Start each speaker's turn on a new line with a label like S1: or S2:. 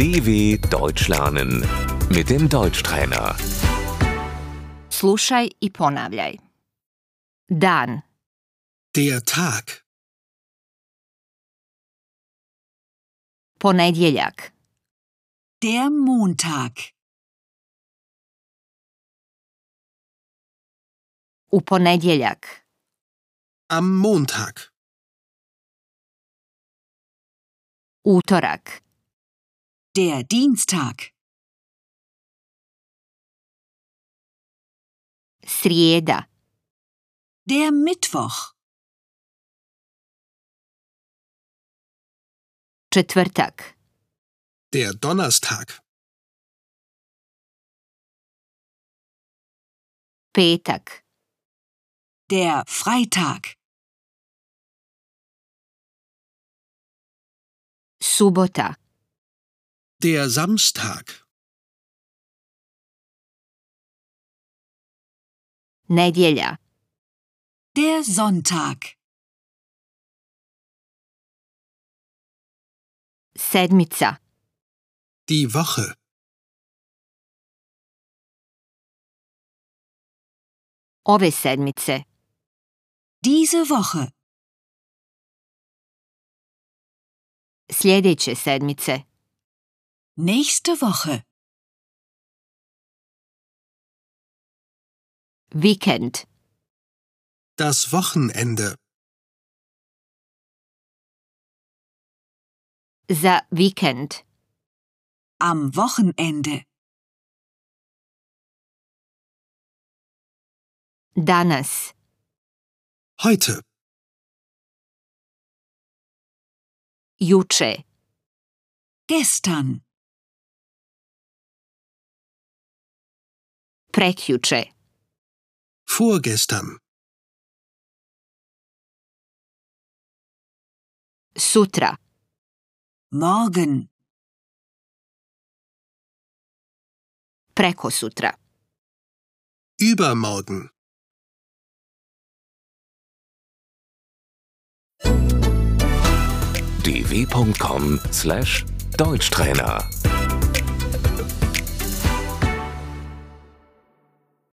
S1: DW Deutsch lernen mit dem Deutschtrainer.
S2: Slušaj i ponavljaj. Dan,
S3: Der Tag.
S2: ponedjeljak,
S4: Der Montag.
S2: u ponedjeljak,
S3: Am Montag.
S2: utorak,
S4: Der Dienstag.
S2: srijeda,
S4: Der Mittwoch.
S2: četvrtak,
S3: Der Donnerstag.
S2: petak,
S4: Der Freitag.
S2: subota,
S3: Der Samstag.
S2: nedjelja,
S4: Der Sonntag.
S2: sedmica,
S3: Die Woche.
S2: ove sedmice,
S4: Diese Woche.
S2: sljedeće sedmice,
S4: Nächste Woche.
S2: vikend,
S3: Das Wochenende.
S2: za vikend,
S4: Am Wochenende.
S2: danas,
S3: Heute.
S2: juče,
S4: Gestern.
S2: prekjuče,
S3: Vorgestern.
S2: sutra,
S4: Morgen.
S2: prekosutra,
S3: Übermorgen.
S1: dw.com/deutschtrainer